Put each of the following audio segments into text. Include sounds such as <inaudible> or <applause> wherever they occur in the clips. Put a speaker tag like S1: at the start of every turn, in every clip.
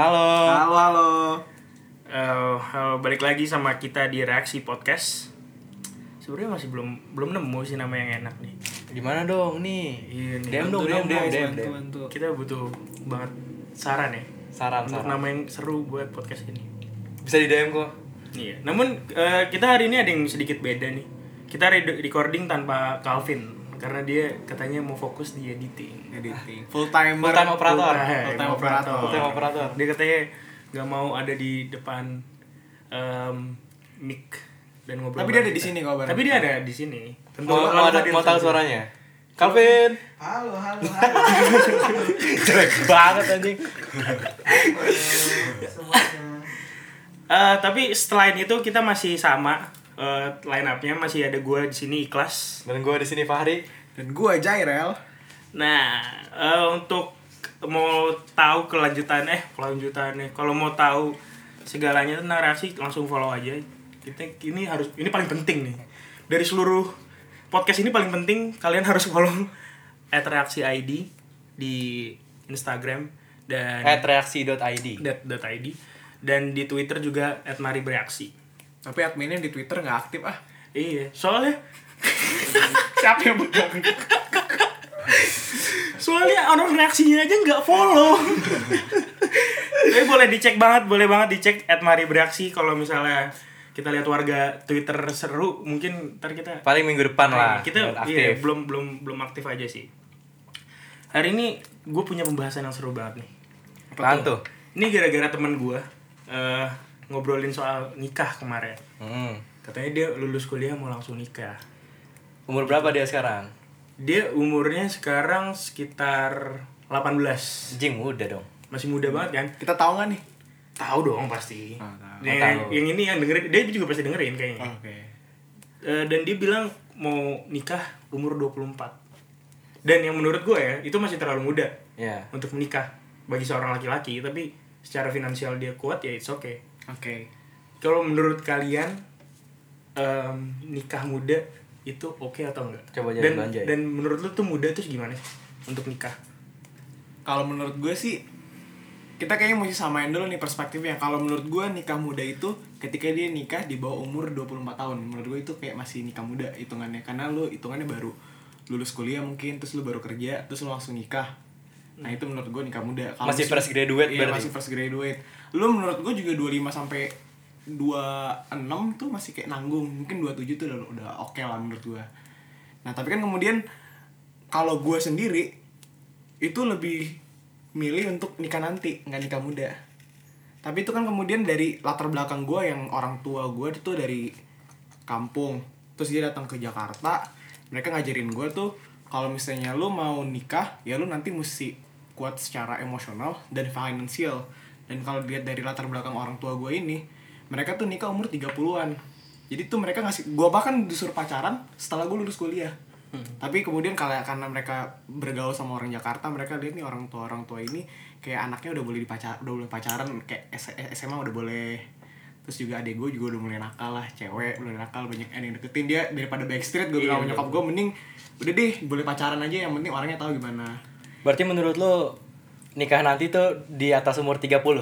S1: Halo halo.
S2: Eh, halo, balik lagi sama kita di reaksi podcast. Sebenarnya masih belum belum nemu sih nama yang enak nih.
S3: Gimana dong nih?
S2: Iya nih.
S3: DM dong,
S1: Bantu
S3: DM, DM,
S1: guys,
S3: DM,
S1: bantu,
S3: DM.
S1: bantu.
S2: Kita butuh banget saran ya
S3: Saran,
S2: untuk
S3: saran.
S2: nama yang seru buat podcast ini.
S3: Bisa di DM kok.
S2: Iya. Namun eh, kita hari ini ada yang sedikit beda nih. Kita re- recording tanpa Calvin karena dia katanya mau fokus di editing.
S1: Editing. Full timer.
S3: Full time operator.
S1: Full time operator.
S3: Full time operator.
S2: Dia katanya nggak mau ada di depan em, mic dan ngobrol.
S1: Tapi dia
S2: bareng
S1: ada di
S2: kita.
S1: sini kok, bareng
S2: Tapi dia ada di sini. Tentu
S3: Mau, mau, ada- mau tahu suaranya? Calvin.
S1: Halo halo halo.
S3: <laughs> Jelek banget anjing.
S2: Eh, tapi selain itu kita masih sama eh, line up-nya masih ada gua di sini ikhlas.
S3: Dan gue di sini Fahri.
S1: Dan gua Jairel.
S2: Nah, eh, untuk mau tahu kelanjutan eh kelanjutannya kalau mau tahu segalanya tentang reaksi langsung follow aja. Kita ini harus ini paling penting nih. Dari seluruh podcast ini paling penting kalian harus follow <laughs> @reaksi_id di Instagram dan
S3: At reaksi.id.
S2: dat- dat .id dan di Twitter juga @maribereaksi.
S1: Tapi adminnya di Twitter nggak aktif ah.
S2: Iya, soalnya siapa yang pegang? soalnya orang reaksinya aja nggak follow. Tapi boleh dicek banget, boleh banget dicek at Mari Bereaksi kalau misalnya kita lihat warga Twitter seru, mungkin ntar kita
S3: Paling minggu depan lah.
S2: kita
S3: buat
S2: iya,
S3: aktif.
S2: belum belum belum aktif aja sih. Hari ini gue punya pembahasan yang seru banget nih.
S3: Apaan tuh?
S2: Ini gara-gara temen gue eh, ngobrolin soal nikah kemarin.
S3: Hmm.
S2: Katanya dia lulus kuliah mau langsung nikah.
S3: Umur berapa dia sekarang?
S2: Dia umurnya sekarang sekitar 18.
S3: Jing udah dong.
S2: Masih muda banget kan?
S1: Kita tahu nggak nih?
S2: Tahu dong pasti. Nah,
S1: Ah, tahu.
S2: Yang,
S3: Tahu. Ah.
S2: yang ini yang dengerin, dia juga pasti dengerin kayaknya.
S1: Oke.
S2: Eh, dan dia bilang mau nikah umur 24. Dan yang menurut gue ya, itu masih terlalu muda
S3: Ya.
S2: untuk menikah bagi seorang laki-laki, tapi secara finansial dia kuat ya it's okay.
S1: Oke.
S2: Kalau menurut kalian em, nikah muda itu oke atau enggak?
S3: Coba jadi
S2: dan,
S3: belanja ya.
S2: dan menurut lu tuh muda terus gimana sih untuk nikah?
S1: Kalau menurut gue sih kita kayaknya mesti samain dulu nih perspektifnya. Kalau menurut gue nikah muda itu ketika dia nikah di bawah umur 24 tahun. Menurut gue itu kayak masih nikah muda hitungannya karena lu hitungannya baru lulus kuliah mungkin terus lu baru kerja terus lu langsung nikah. Nah, itu menurut gue nikah muda. Kalau
S3: Masih
S1: mis-
S3: fresh graduate
S1: Iya,
S3: berarti?
S1: masih fresh graduate. Lu menurut gue juga 25 sampai 26 tuh masih kayak nanggung. Mungkin 27 tuh udah udah oke lah menurut gue. Nah, tapi kan kemudian kalau gue sendiri itu lebih milih untuk nikah nanti, nggak nikah muda. Tapi itu kan kemudian dari latar belakang gue yang orang tua gue itu dari kampung. Terus dia datang ke Jakarta, mereka ngajarin gue tuh kalau misalnya lu mau nikah, ya lu nanti mesti kuat secara emosional dan finansial. Dan kalau dilihat dari latar belakang orang tua gue ini, mereka tuh nikah umur 30-an. Jadi tuh mereka ngasih, gue bahkan disuruh pacaran setelah gue lulus kuliah tapi kemudian kalau karena mereka bergaul sama orang Jakarta mereka lihat nih orang tua orang tua ini kayak anaknya udah boleh dipacar udah boleh pacaran kayak S- SMA udah boleh terus juga adek gue juga udah mulai nakal lah cewek mulai nakal banyak yang deketin dia daripada backstreet gue bilang sama nyokap gue mending udah deh boleh pacaran aja yang penting orangnya tahu gimana
S3: Berarti menurut lo nikah nanti tuh di atas umur 30? Atau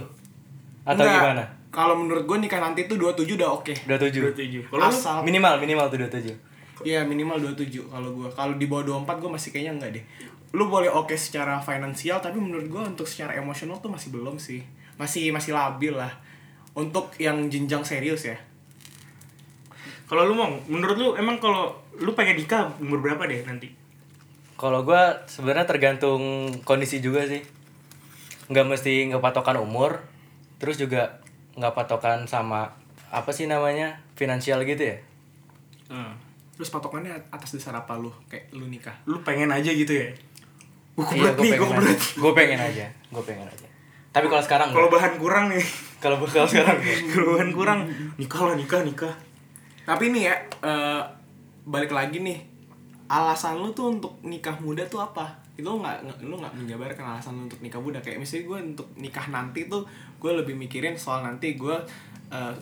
S1: Enggak.
S3: gimana?
S1: kalau menurut gue nikah nanti tuh 27 udah oke
S3: 27.
S2: 27. Kalau lu
S1: asal
S3: Minimal, minimal tuh 27.
S1: Iya minimal 27 kalau gue Kalau di bawah 24 gue masih kayaknya enggak deh Lu boleh oke secara finansial Tapi menurut gue untuk secara emosional tuh masih belum sih Masih masih labil lah Untuk yang jenjang serius ya
S2: Kalau lu mau, menurut lu emang kalau lu pengen nikah umur berapa deh nanti?
S3: Kalau gua sebenarnya tergantung kondisi juga sih. Nggak mesti nggak patokan umur, terus juga nggak patokan sama apa sih namanya finansial gitu ya.
S1: Terus patokannya atas dasar apa lu Kayak lu nikah
S2: Lu pengen aja gitu ya? Gue berat
S3: Iya, gue
S2: nih,
S3: pengen,
S2: gue
S3: aja.
S2: berat.
S3: Gua pengen aja, gue pengen aja. Tapi kalau sekarang
S2: Kalau
S3: nggak.
S2: bahan kurang nih, <laughs>
S3: kalau kalau sekarang nggak.
S2: kalau bahan kurang, nikah lah nikah nikah.
S1: Tapi ini ya eh, Balik lagi nih Alasan lu tuh untuk nikah muda tuh apa? Itu lu nggak nggak- lu nggak menjabarkan alasan lu untuk nikah muda Kayak misalnya gue untuk nikah nanti tuh Gue lebih mikirin soal nanti gue eh,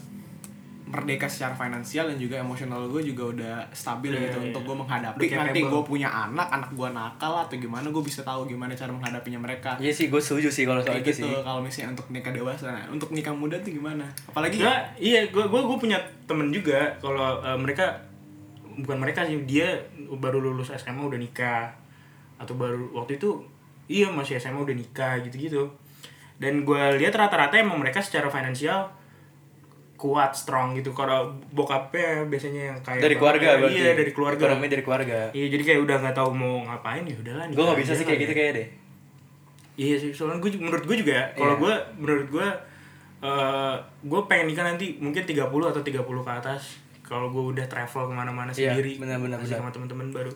S1: merdeka secara finansial dan juga emosional gue juga udah stabil
S2: Iya,
S1: gitu
S2: iya.
S1: untuk gue
S2: Udah
S1: menghadapi
S2: capable.
S1: nanti gue punya anak anak gue nakal atau gimana gue bisa tahu gimana cara menghadapinya mereka
S3: Iya sih, gue setuju sih kalau soal
S1: kayak
S3: itu
S1: gitu
S3: sih.
S1: kalau misalnya untuk nikah dewasa nah, untuk nikah muda tuh gimana apalagi
S2: Gua, iya, gue gua, gua punya temen juga kalau eh, mereka bukan mereka sih dia baru lulus SMA udah nikah atau baru waktu itu iya masih SMA udah nikah gitu-gitu. Dan gue lihat rata-rata emang mereka secara finansial kuat strong gitu kalau bokapnya biasanya yang kayak
S3: Dari keluarga berarti. ya?
S2: iya dari keluarga
S3: Ekonomi dari keluarga.
S2: iya jadi kayak udah nggak tahu mau ngapain ya udahlah
S3: Gue
S2: nikah
S3: nggak bisa
S2: aja
S3: sih
S2: lah
S3: kayak
S2: ya.
S3: gitu kayak deh.
S2: Iya sih, soalnya gue menurut gue juga ya,
S3: Iya.
S2: kalau gue menurut gue eh gue pengen nikah nanti mungkin 30 atau 30 ke atas. Kalau gue udah travel kemana-mana
S3: Iya,
S2: sendiri,
S3: benar-benar,
S2: masih sama
S3: benar.
S2: teman-teman baru.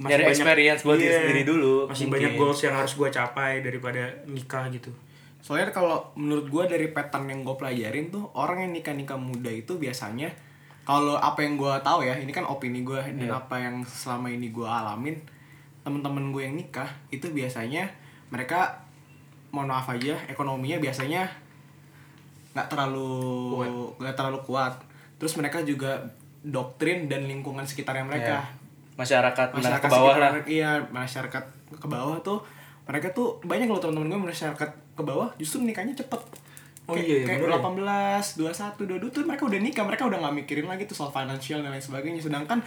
S3: Nyari experience buat diri
S2: iya,
S3: sendiri dulu,
S2: Masih
S3: mungkin.
S2: banyak goals yang harus gue capai daripada nikah gitu.
S1: Soalnya kalau menurut gue dari pattern yang gue pelajarin tuh orang yang nikah nikah muda itu biasanya kalau apa yang gue tahu ya ini kan opini gue dan apa yang selama ini gue alamin temen-temen gue yang nikah itu biasanya mereka mohon maaf aja ekonominya biasanya nggak terlalu nggak terlalu kuat terus mereka juga doktrin dan lingkungan sekitarnya mereka
S3: Masyarakat, menengah
S1: masyarakat
S3: ke bawah lah.
S1: sekitar- iya masyarakat ke bawah tuh mereka tuh banyak loh teman-teman gue masyarakat ke bawah justru nikahnya cepet
S2: Oh
S1: Kayak-
S2: iya, iya,
S1: kayak
S2: bener ya.
S1: 18, 21, 22 tuh mereka udah nikah, mereka udah nggak mikirin lagi tuh soal financial dan lain sebagainya. Sedangkan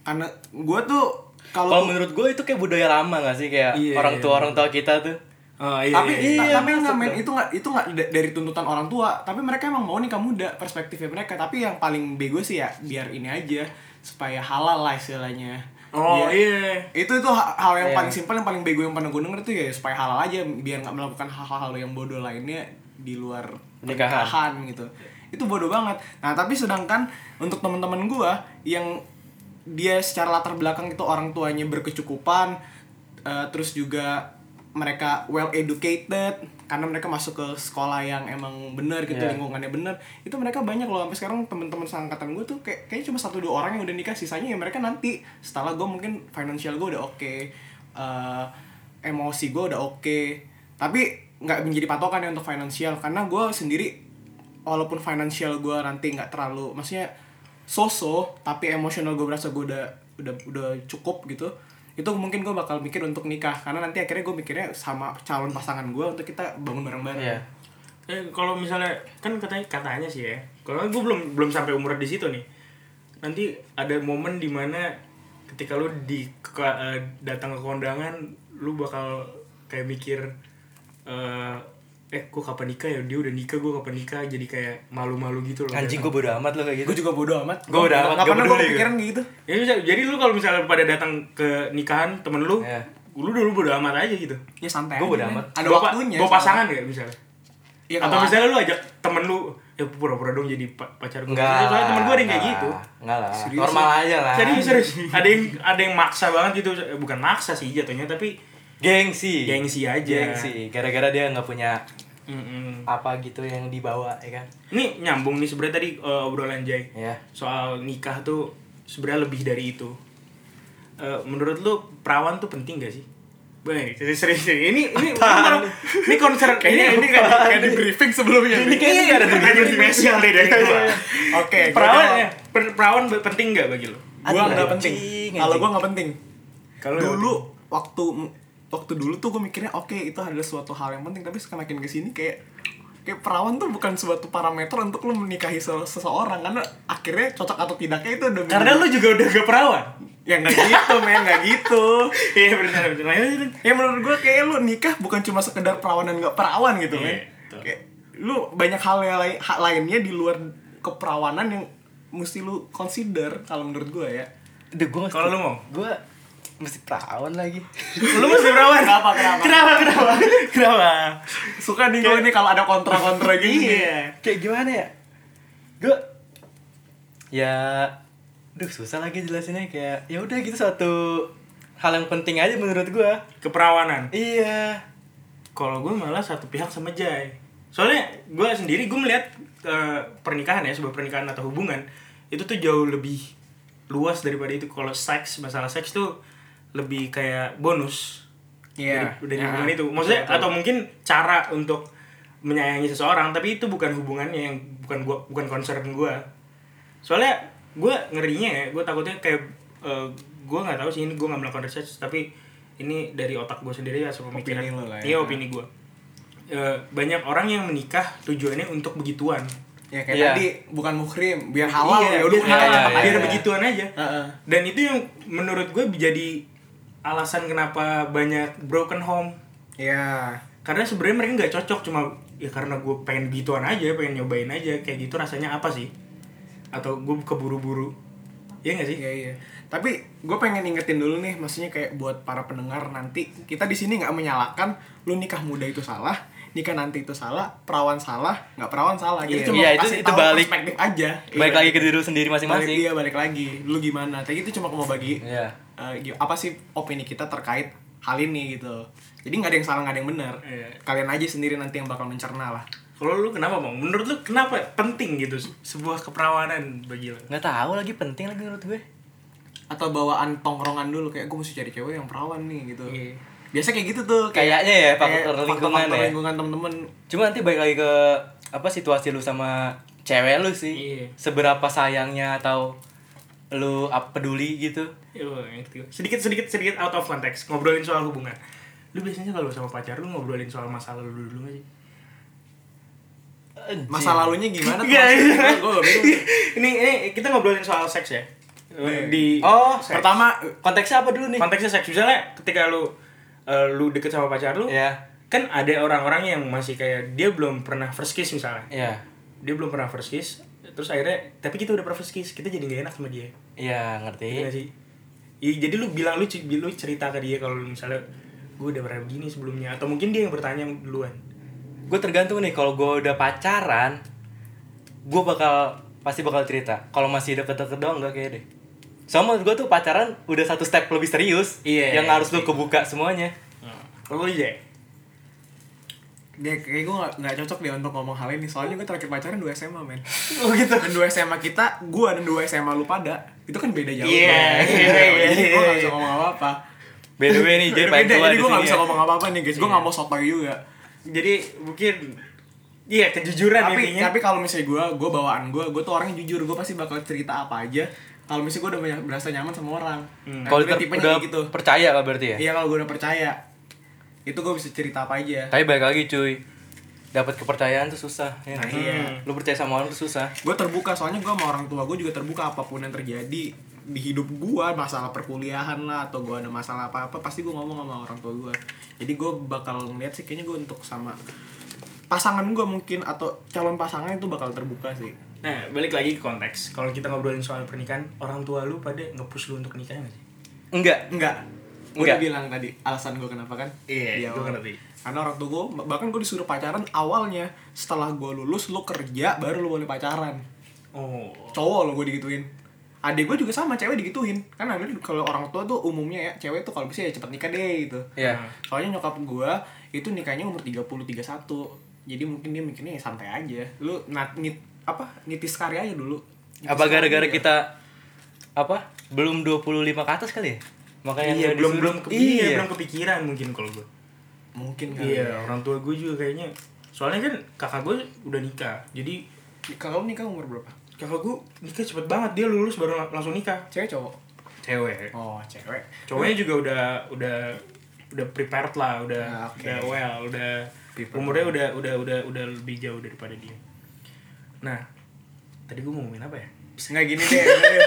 S1: karena gue tuh kalau
S3: Kalau menurut gue itu kayak budaya lama gak sih kayak
S2: Iya,
S3: orang
S2: iya,
S3: tua orang tua kita tuh.
S2: Ah, iya,
S1: tapi
S2: iya,
S1: ta-
S3: iya,
S1: tapi
S3: masuk
S1: nggak men itu nggak itu nggak da- dari tuntutan orang tua tapi mereka emang mau nikah muda perspektifnya mereka tapi yang paling bego sih ya biar ini aja supaya halal lah istilahnya
S2: Oh
S1: Biar-
S2: iya.
S1: itu itu ha- hal yang paling simpel yang paling bego yang pernah gue denger tuh ya supaya halal aja biar nggak melakukan hal-hal yang bodoh lainnya di luar
S3: Pernikahan.
S1: pernikahan gitu itu bodoh banget nah tapi sedangkan untuk teman-teman gue yang dia secara latar belakang itu orang tuanya berkecukupan eh, terus juga mereka well educated karena mereka masuk ke sekolah yang emang bener gitu
S3: Iya.
S1: lingkungannya bener itu mereka banyak loh sampai sekarang teman-teman seangkatan gue tuh kayak kayaknya cuma satu dua orang yang udah nikah sisanya ya mereka nanti setelah gue mungkin financial gue udah oke eh, emosi gue udah oke tapi nggak menjadi patokan ya untuk financial karena gue sendiri walaupun financial gue nanti nggak terlalu maksudnya so-so tapi emosional gue berasa gue udah udah udah cukup gitu itu mungkin gue bakal mikir untuk nikah karena nanti akhirnya gue mikirnya sama calon pasangan gue untuk kita bangun bareng-bareng
S3: Iya.
S2: Eh, kalau misalnya kan katanya katanya sih ya. Kalau gue belum belum sampai umur di situ nih. Nanti ada momen dimana ketika lu di ke- eh, datang ke kondangan, lu bakal kayak mikir eh eh gue kapan nikah ya dia udah nikah gue kapan nikah jadi kayak malu-malu gitu loh
S3: Anjing gue bodo amat loh kayak gitu.
S1: gue juga bodo amat
S3: Gua bodo amat,
S1: nggak
S3: gua
S1: pernah gue
S3: peduli gitu.
S1: kepikiran gitu
S2: Ya, bisa- jadi lu kalau misalnya pada datang ke nikahan temen lu
S3: Iya.
S2: lu dulu bodo amat aja gitu
S1: ya santai
S3: Gua
S1: aja,
S3: bodo
S1: men.
S3: amat.
S1: ada
S2: Bawa-
S1: waktunya
S2: bawa
S1: soalnya.
S2: pasangan ya misalnya
S1: ya,
S3: Iya,
S2: atau
S3: kan?
S1: kalau
S2: misalnya lu ajak temen lu ya pura-pura dong jadi pa- pacar gue
S3: Enggak.
S2: soalnya temen gue ada yang
S3: enggak
S2: kayak gitu
S3: lah, Enggak lah.
S1: Serius,
S3: Normal aja lah.
S2: serius serius ada yang ada yang maksa banget gitu Eh, bukan maksa sih jatuhnya tapi
S3: Gengsi.
S2: gengsi aja
S3: Gengsi. Gara-gara dia nggak punya
S2: Mm-mm.
S3: apa gitu yang dibawa ya kan.
S2: ini nyambung nih sebenarnya tadi eh, obrolan Jai
S3: Ya.
S2: soal nikah tuh sebenarnya lebih dari itu Eh, menurut lu perawan tuh penting gak sih Baik, serius serius. ini ini ini, ini konser ini ini kayak
S1: kayak di briefing sebelumnya
S2: ini kayak ada spesial deh dari gua.
S1: Iya. oke gua
S2: Perawan
S1: jawab.
S2: ya, per- perawan be- penting nggak bagi lo?
S1: gua
S3: Aduh,
S1: nggak
S3: anjing,
S1: penting
S3: anjing.
S1: kalau gua nggak penting
S2: Kalau
S1: dulu waktu waktu dulu tuh gue mikirnya oke itu adalah suatu hal yang penting tapi semakin kesini kayak kayak perawan tuh bukan suatu parameter untuk lu menikahi se- seseorang karena akhirnya cocok atau tidaknya itu udah
S2: Karena lu juga udah gak perawan.
S1: ya nggak gitu men nggak gitu
S2: <laughs> Iya benar benar. Lanjut,
S1: ya menurut gue kayak lu nikah bukan cuma sekedar perawan dan nggak perawan gitu
S2: Iya,
S1: men
S2: betul.
S1: kayak lu banyak hal yang lai- hak lainnya di luar keperawanan yang mesti lu consider kalau menurut gue ya
S3: Aduh, gua mesti-
S2: Kalau lu mau?
S3: gua mesti perawan lagi.
S2: lanjut. <laughs> Lu masih perawan.
S1: Kenapa, kenapa?
S2: Kenapa kenapa? Kenapa?
S1: suka nih gue nih kalau ada kontra-kontra gini nih.
S2: Iya.
S3: kayak gimana ya? Gua ya Duh susah lagi jelasinnya kayak ya udah gitu satu hal yang penting aja menurut gua.
S2: Keperawanan.
S3: Iya.
S2: Kalau gue malah satu pihak sama Jai. Soalnya gue sendiri gue melihat eh, pernikahan ya sebuah pernikahan atau hubungan itu tuh jauh lebih luas daripada itu. Kalau seks masalah seks tuh lebih kayak bonus.
S1: Iya.
S2: dari, dari hubungan itu maksudnya atau mungkin cara untuk menyayangi seseorang tapi itu bukan hubungannya yang bukan gua bukan concern gua soalnya gue ngerinya ya gue takutnya kayak eh, gue nggak tahu sih ini gue nggak melakukan research tapi ini dari otak gue sendiri ya pemikiran
S1: Opini lo lah ya.
S2: iya opini gue banyak orang yang menikah tujuannya untuk begituan
S1: ya kayak
S3: Iya.
S1: tadi bukan muhrim biar halal
S2: Iya,
S1: ya udah
S2: biar
S1: halal
S3: Iya, iya,
S1: Biar
S2: biar
S1: begitu
S2: begituan aja
S1: Heeh.
S2: dan itu yang menurut gue jadi alasan kenapa banyak broken home
S1: ya
S2: karena sebenarnya mereka nggak cocok cuma ya karena gue pengen gituan aja pengen nyobain aja kayak gitu rasanya apa sih atau gue keburu-buru Iya gak sih
S1: iya iya tapi gue pengen ingetin dulu nih maksudnya kayak buat para pendengar nanti kita di sini nggak menyalahkan lu nikah muda itu salah nikah nanti itu salah perawan salah nggak perawan salah
S3: Iya.
S1: kita cuma
S3: Iya, itu-
S1: kasih
S3: itu
S1: tahu
S3: balik.
S1: perspektif aja
S3: Baik
S1: Iya.
S3: lagi ke diri lu sendiri
S1: balik
S3: masing-masing.
S1: dia balik lagi lu gimana tapi itu cuma mau bagi
S3: Iya.
S1: eh, gi- apa sih opini kita terkait hal ini gitu jadi nggak ada yang salah nggak ada yang benar
S2: Iya.
S1: kalian aja sendiri nanti yang bakal mencerna lah
S2: kalau lu kenapa bang menurut lu kenapa penting gitu se- sebuah keperawanan bagi lu
S3: Nggak tahu lagi penting lagi menurut gue.
S1: atau bawaan tongkrongan dulu kayak gue mesti cari cewek yang perawan nih gitu
S2: Iya.
S1: biasa kayak gitu tuh
S3: Kayaknya ya, faktor
S1: kayak
S3: lingkungan
S1: faktor-faktor
S3: ya.
S1: lingkungan temen-temen
S3: Cuma nanti balik lagi ke apa situasi lu sama cewek lu sih.
S2: Iya.
S3: Seberapa sayangnya atau lu ap- peduli gitu.
S2: Iya, gua ngerti. sedikit sedikit sedikit out of context ngobrolin soal hubungan lu biasanya kalau sama pacar lu ngobrolin soal masalah lu dulu gak sih
S1: masa lalunya gimana tuh
S2: Nggak, iya.
S1: gue gak bingung
S2: <laughs> ini, ini kita ngobrolin soal seks ya di
S3: Oh,
S2: seks.
S1: pertama
S3: konteksnya apa dulu nih?
S2: konteksnya seks misalnya ketika lu eh, lu deket sama pacar lu
S3: Ya.
S2: kan ada orang-orang yang masih kayak dia belum pernah first kiss misalnya
S3: Iya.
S2: dia belum pernah first kiss terus akhirnya tapi kita udah pernah first kiss kita jadi gak enak sama dia
S3: Iya, ngerti.
S2: Iya nggak sih Iya, jadi lu bilang lu, c- lu cerita ke dia kalau lu misalnya gue udah pernah begini sebelumnya atau mungkin dia yang bertanya duluan
S3: gue tergantung nih kalau gue udah pacaran gue bakal pasti bakal cerita kalau masih deket-deket doang nggak kayak deh sama gue tuh pacaran udah satu step lebih serius
S2: Iya,
S3: yang
S2: iya,
S3: harus lu kebuka semuanya
S2: kalau lu aja
S1: dia kayak gue gak, nggak cocok deh untuk ngomong hal ini soalnya gue terakhir pacaran 2 SMA men oh gitu dan 2 SMA kita gue dan 2 SMA lu pada itu kan beda jauh
S2: Iya,
S1: tuh.
S2: iya, iya,
S1: jadi gue gak
S2: iya.
S1: bisa ngomong apa-apa
S3: by the
S1: <laughs>
S3: way nih Jay
S1: Beda,
S3: paling tua
S1: jadi
S3: di
S1: gue
S3: sini
S1: gak bisa
S3: ya.
S1: ngomong apa-apa nih guys gue gak mau sotoy juga
S2: jadi mungkin iya kejujuran
S1: tapi
S2: intinya
S1: tapi kalau misalnya gue gue bawaan gue gue tuh orangnya jujur gue pasti bakal cerita apa aja kalau misalnya gue udah banyak berasa nyaman sama orang Nah,
S3: kalau
S1: gue
S3: ter-
S1: tipenya
S3: udah
S1: kayak gitu
S3: percaya lah berarti ya
S1: iya kalau gue udah percaya itu gue bisa cerita apa aja
S3: tapi balik lagi cuy dapat kepercayaan tuh susah ya
S1: Nah,
S3: nggak sih?
S1: iya.
S3: lu percaya sama orang tuh susah
S1: gue terbuka soalnya gue sama orang tua gue juga terbuka apapun yang terjadi di hidup gue masalah perkuliahan lah atau gue ada masalah apa apa pasti gue ngomong sama orang tua gue jadi gue bakal ngeliat sih kayaknya gue untuk sama pasangan gue mungkin atau calon pasangan itu bakal terbuka sih
S2: nah balik lagi ke konteks kalau kita ngobrolin soal pernikahan orang tua lu pada ngepush lu untuk nikah nggak sih
S3: enggak
S1: enggak gue udah
S3: Enggak.
S1: bilang tadi alasan gue kenapa kan Di
S2: Iya,
S1: awal.
S2: gue ngerti.
S1: karena orang tua gue bahkan gue disuruh pacaran awalnya setelah gue lulus lu kerja baru lu boleh pacaran
S2: Oh,
S1: cowok lo gue digituin adik gue juga sama cewek digituin kan akhirnya kalau orang tua tuh umumnya ya cewek tuh kalau bisa ya cepet nikah deh gitu
S3: ya
S1: soalnya nyokap gue itu nikahnya umur 30 31 jadi mungkin dia mikirnya ya santai aja lu nat nit apa nitis karya aja dulu Nitis
S3: apa
S1: karya
S3: gara-gara
S1: ya.
S3: kita apa belum 25 ke atas kali ya makanya
S2: iya,
S3: nggak
S2: belum
S3: disuruh.
S2: belum kepikiran,
S3: iya.
S2: belum kepikiran mungkin kalau gue.
S1: mungkin kan
S2: Iya, orang tua gue juga kayaknya. Soalnya kan kakak gue udah nikah, jadi
S1: kalau nikah umur berapa
S2: kakak gue nikah cepet banget dia lulus baru lang- langsung nikah.
S1: cewek cowok
S2: Cewek.
S1: oh cewek
S2: Cowoknya juga udah udah udah prepared lah, udah
S1: Ah, oke.
S2: udah well, udah
S1: Prepared.
S2: umurnya udah udah udah udah lebih jauh daripada dia. Nah, tadi gue mau ngomongin apa ya?
S1: nggak gini deh bener.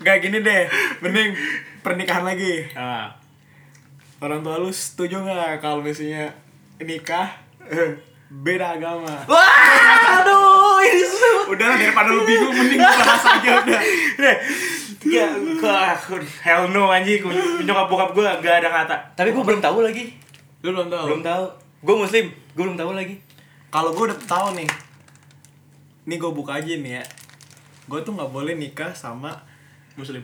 S1: nggak gini deh mending pernikahan lagi
S2: Ah,
S1: orang tua lu setuju nggak kalau misalnya nikah beda agama
S2: Wah, aduh, ini susah
S1: udahlah daripada lu bingung mending lu bahas aja udah
S2: ya, gua, hell no anjing, nyokap bokap gue gak ada kata.
S3: tapi gue belum tahu lagi
S1: lu belum tahu
S3: belum tahu gue muslim gue belum tahu lagi
S1: kalau gue udah tahu nih nih gue buka aja nih ya gue tuh nggak boleh nikah sama
S2: Muslim.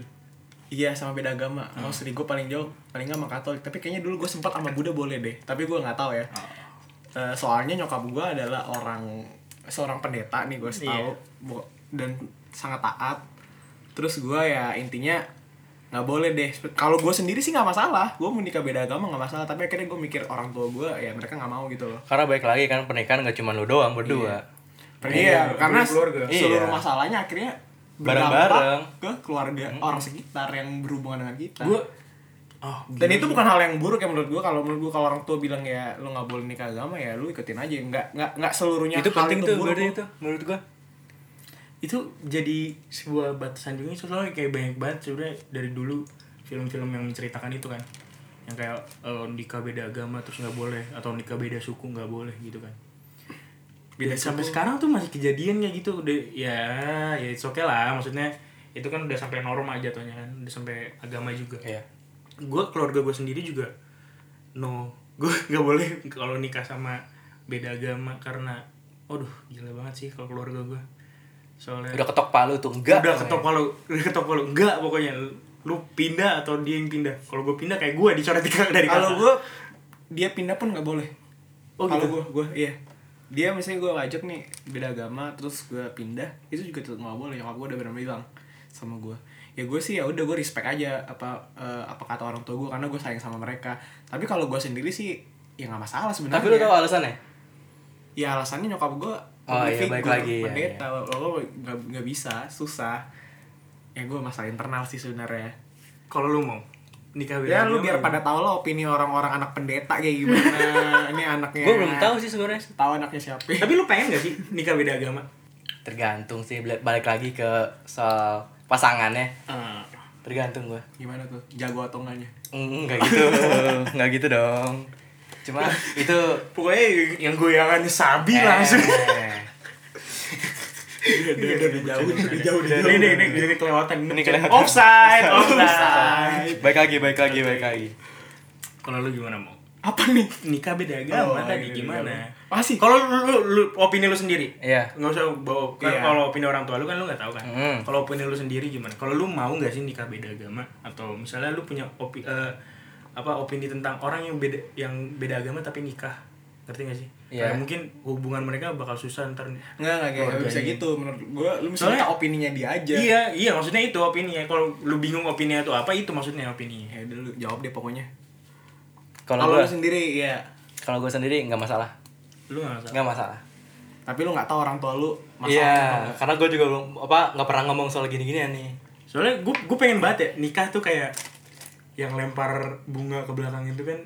S1: iya sama beda agama mau sering gue paling jauh paling nggak sama katolik tapi kayaknya dulu gue sempat sama buddha boleh deh tapi gue nggak tahu ya Eh, soalnya nyokap gue adalah orang seorang pendeta nih gue tahu Bo- dan sangat taat terus gue ya intinya nggak boleh deh kalau gue sendiri sih nggak masalah gue mau nikah beda agama nggak masalah tapi akhirnya gue mikir orang tua gue ya mereka nggak mau gitu loh
S3: karena baik lagi kan pernikahan gak cuma lo doang berdua
S1: Iya, karena
S2: keluarga.
S3: Iya.
S1: seluruh masalahnya akhirnya berdampak
S3: Bareng-bareng.
S1: ke keluarga orang sekitar yang berhubungan dengan kita
S2: Gue Oh,
S1: dan itu bukan hal yang buruk ya menurut gue kalau menurut gue kalau orang tua bilang ya lu nggak boleh nikah agama ya lu ikutin aja nggak nggak nggak seluruhnya
S3: itu
S1: Iya. hal
S3: penting
S1: itu
S3: tuh
S1: buruk
S3: berarti itu menurut gua
S2: itu jadi sebuah batasan juga soalnya kayak banyak banget sebenarnya dari dulu film-film yang menceritakan itu kan yang kayak eh, nikah beda agama terus nggak boleh atau nikah beda suku nggak boleh gitu kan beda sampai sekarang tuh masih kejadian kayak gitu udah ya ya it's okay lah maksudnya itu kan udah sampai norma jatuhnya kan udah sampai agama juga
S3: Iya.
S2: gue keluarga gue sendiri juga no gue nggak boleh kalau nikah sama beda agama karena aduh gila banget sih kalau keluarga gue soalnya
S3: udah ketok palu tuh enggak
S2: udah
S3: namanya.
S2: ketok palu udah ketok palu enggak pokoknya lu pindah atau dia yang pindah kalau gue pindah kayak gue dicoret di- dari
S1: kalau
S2: kakak.
S1: gue dia pindah pun nggak boleh
S2: Oh,
S1: kalau
S2: gitu?
S1: gue gue iya dia misalnya gue ajak nih beda agama terus gue pindah itu juga tetap nggak boleh nyokap gue udah benar bilang sama gue ya gue sih ya udah gue respect aja apa eh, apa kata orang tua gue karena gue sayang sama mereka tapi kalau gue sendiri sih ya nggak masalah sebenarnya
S3: tapi lu tahu alasannya
S1: ya alasannya nyokap gue
S3: Oh, iya, balik lagi, iya,
S1: pendeta Nah, lo nggak nggak bisa susah ya gue masalah internal sih sebenarnya
S2: kalau lu mau nikah beda
S3: Iya,
S1: ya lu
S2: agama,
S1: biar pada tahu lo opini orang-orang anak pendeta kayak
S3: <laughs>
S1: gimana ini anaknya
S3: gua belum tahu sih sebenarnya
S1: tahu anaknya siapa
S2: tapi lu pengen gak sih nikah beda agama
S3: tergantung sih balik balik lagi ke soal pasangannya
S2: Eh,
S3: tergantung gua
S1: gimana tuh jago atau enggaknya
S3: enggak <laughs> gitu enggak gitu dong cuma itu
S2: pokoknya yang goyangannya sabi
S3: Eh,
S2: langsung
S1: udah udah udah jauh nih, udah jauh udah
S2: ini ini ini ini kelewatan
S3: Ini kelewatan. <laughs>
S2: offside offside
S3: baik lagi baik lagi baik lagi
S2: kalau lu gimana mau
S1: apa nih
S2: nikah beda agama
S1: Oh,
S2: tadi
S1: iya,
S2: gimana
S1: iya. Masih.
S2: kalau lu, lu, lu opini lu sendiri
S3: Iya.
S2: nggak usah bawa kan
S1: Iya.
S2: kalau opini orang tua lu kan lu nggak tahu kan
S3: Mm.
S2: kalau opini lu sendiri gimana kalau lu mau nggak sih nikah beda agama atau misalnya lu punya opi eh, apa opini tentang orang yang beda yang beda agama tapi nikah ngerti gak sih
S3: Iya.
S2: Kayak mungkin hubungan mereka bakal susah ntar
S1: enggak enggak
S3: Oh,
S1: kayak nggak
S3: iya,
S1: bisa gitu menurut gue lu mesti
S2: Soalnya-
S1: minta opininya dia aja
S2: iya iya maksudnya itu opini ya kalau lu bingung opini itu apa itu maksudnya opini
S1: ya udah lu jawab deh pokoknya
S3: kalau
S1: kalau
S3: gua
S1: lu sendiri ya
S3: kalau gua sendiri nggak masalah
S2: lu nggak masalah
S3: nggak masalah
S1: tapi lu nggak tahu orang tua lu masalahnya
S3: Iya, karena gue juga belum apa nggak pernah ngomong soal gini-ginian nih.
S2: soalnya gue gue pengen banget ya nikah tuh kayak yang lempar bunga ke belakang itu kan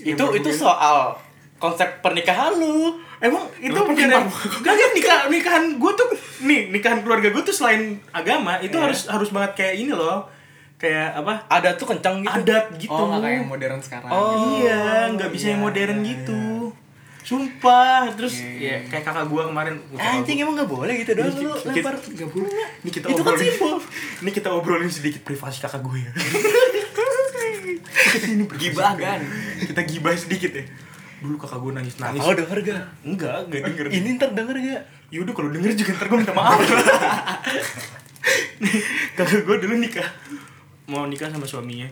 S3: itu itu soal konsep pernikahan lu.
S2: emang itu bukan gak gak nikah nikahan gue tuh nih nikahan keluarga gue tuh selain agama itu harus harus banget kayak ini loh kayak apa
S3: Ada tuh kencang gitu.
S2: adat gitu
S1: oh nggak kayak yang modern gitu. sekarang
S3: Oh,
S2: iya nggak bisa yang modern gitu sumpah terus ya kayak kakak gue kemarin
S3: Anjing emang nggak boleh gitu doang lu
S2: Dikit-
S3: lempar.
S2: nggak boleh ini kita
S3: Itu kan
S2: obrolin
S3: simbol.
S2: <laughs> ini kita obrolin sedikit privasi kakak gue ya ini privasi
S1: Gibah,
S2: kakak
S1: kan?
S2: gue. kita gibah sedikit ya dulu kakak gue nangis nangis
S3: Kalau denger gak?
S2: enggak enggak denger
S3: Ini ntar denger gak?
S2: yaudah Ya kalau denger juga ntar gue minta
S3: <laughs>
S2: maaf kakak gue dulu nikah mau nikah sama suaminya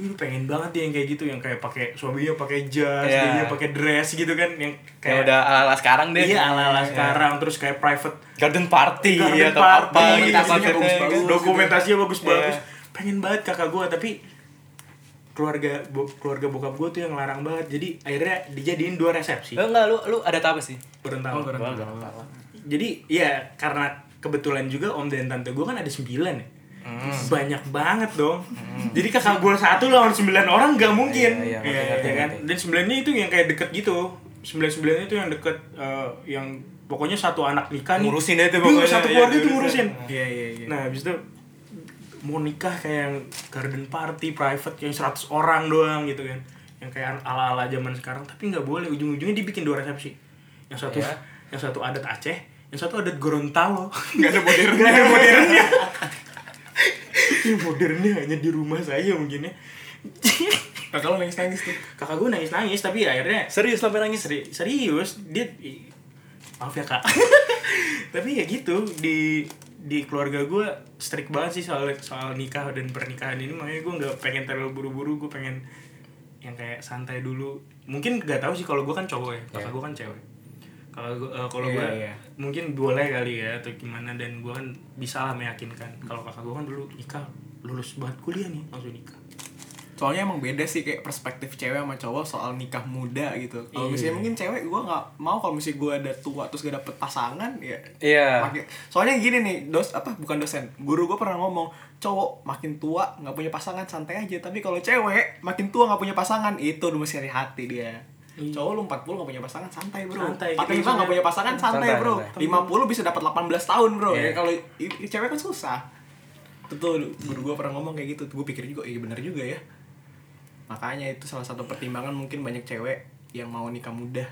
S2: Ih, pengen banget dia yang kayak gitu yang kayak pakai suaminya pakai jas, dia
S3: Iya.
S2: pakai dress gitu kan yang
S3: Kayak
S2: kayak
S3: udah ala sekarang deh.
S2: iya ala ala sekarang terus kayak private
S3: Garden party
S2: Garden
S3: atau
S2: party,
S3: apa gitu
S1: dokumentasinya
S3: maksudnya.
S1: bagus-bagus.
S3: kan.
S2: dokumentasinya bagus-bagus
S3: Iya.
S2: pengen banget kakak gue tapi keluarga bo- keluarga bokap gue tuh yang larang banget jadi akhirnya dijadiin dua resepsi
S3: Eh, enggak lu lu ada apa sih?
S2: berentang
S1: Oh, berentang.
S2: jadi ya karena kebetulan juga om dan tante gue kan ada sembilan ya
S3: Hmm.
S2: banyak banget dong jadi kakak gue satu lawan sembilan orang gak mungkin Iya,
S3: Iya, iya, ngerti, ngerti,
S2: ya kan
S3: ngerti.
S2: dan sembilannya itu yang kayak deket gitu sembilan sembilannya itu yang deket eh, yang pokoknya satu anak nikah nih
S3: Ngurusin deh tuh
S2: Duh,
S3: pokoknya,
S2: satu
S3: iya,
S2: keluarga tuh
S3: ngurusin.
S2: ngurusin
S1: iya iya iya
S2: Nah, habis itu mau nikah kayak yang garden party private yang 100 orang doang gitu kan. Yang kayak ala-ala zaman sekarang tapi nggak boleh ujung-ujungnya dibikin dua resepsi. Yang satu
S3: Iya.
S2: yang satu adat Aceh, yang satu adat Gorontalo. <laughs> Nggak ada modern, nggak ada modernnya. <laughs> Ini modernnya hanya di rumah saya mungkin ya. <laughs>
S1: kakak lu nangis nangis tuh
S2: Kakak gue nangis-nangis tapi ya akhirnya
S3: Serius sampai nangis.
S2: Seri- serius dia i- maaf ya kak <laughs> tapi ya gitu di di keluarga gue strict banget sih soal soal nikah dan pernikahan ini makanya gue nggak pengen terlalu buru-buru gue pengen yang kayak santai dulu mungkin nggak tahu sih kalau gue kan cowok
S3: Iya.
S2: ya kakak gue kan cewek kalau gue eh, kalau
S1: Iya,
S2: gue
S1: iya.
S2: mungkin boleh kali ya atau gimana dan gue kan bisa lah meyakinkan kalau kakak gue kan dulu nikah lulus banget kuliah nih langsung nikah
S1: soalnya emang beda sih kayak perspektif cewek sama cowok soal nikah muda gitu kalau misalnya mungkin cewek gue nggak mau kalau misalnya gue ada tua terus gak dapet pasangan ya
S3: Iya.
S1: makin- soalnya gini nih dos apa bukan dosen guru gue pernah ngomong cowok makin tua nggak punya pasangan santai aja tapi kalau cewek makin tua nggak punya pasangan itu udah mesti hati dia cowok lu 40 nggak punya pasangan santai bro
S2: Santai, gitu
S1: Pakai lima nggak
S2: maksudnya.
S1: punya pasangan santai,
S3: Santai,
S1: bro
S3: santai.
S1: 50 bisa dapat 18 tahun bro
S3: Iya.
S1: ya kalau i- i- cewek kan susah betul guru gue pernah ngomong kayak gitu gue pikir juga iya bener juga ya makanya itu salah satu pertimbangan mungkin banyak cewek yang mau nikah muda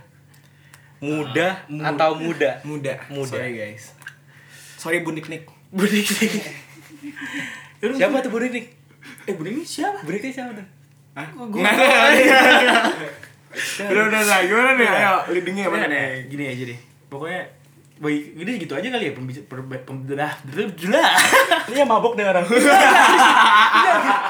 S3: Muda atau muda?
S1: muda
S3: Muda.
S1: sorry guys sorry bunik nik
S2: Budik sih.
S3: Siapa tuh Burik nih?
S2: Eh, Budik ini siapa?
S3: Burik nih siapa tuh?
S1: Hah? Nggak, nggak, nggak, nggak. udah udah udah gimana nih ayo leadingnya
S2: Gimana
S1: mana nih
S2: nih? Gini aja deh. Pokoknya baik, ini gitu aja kali ya pembicara pembicara.
S3: Iya mabok nih orang.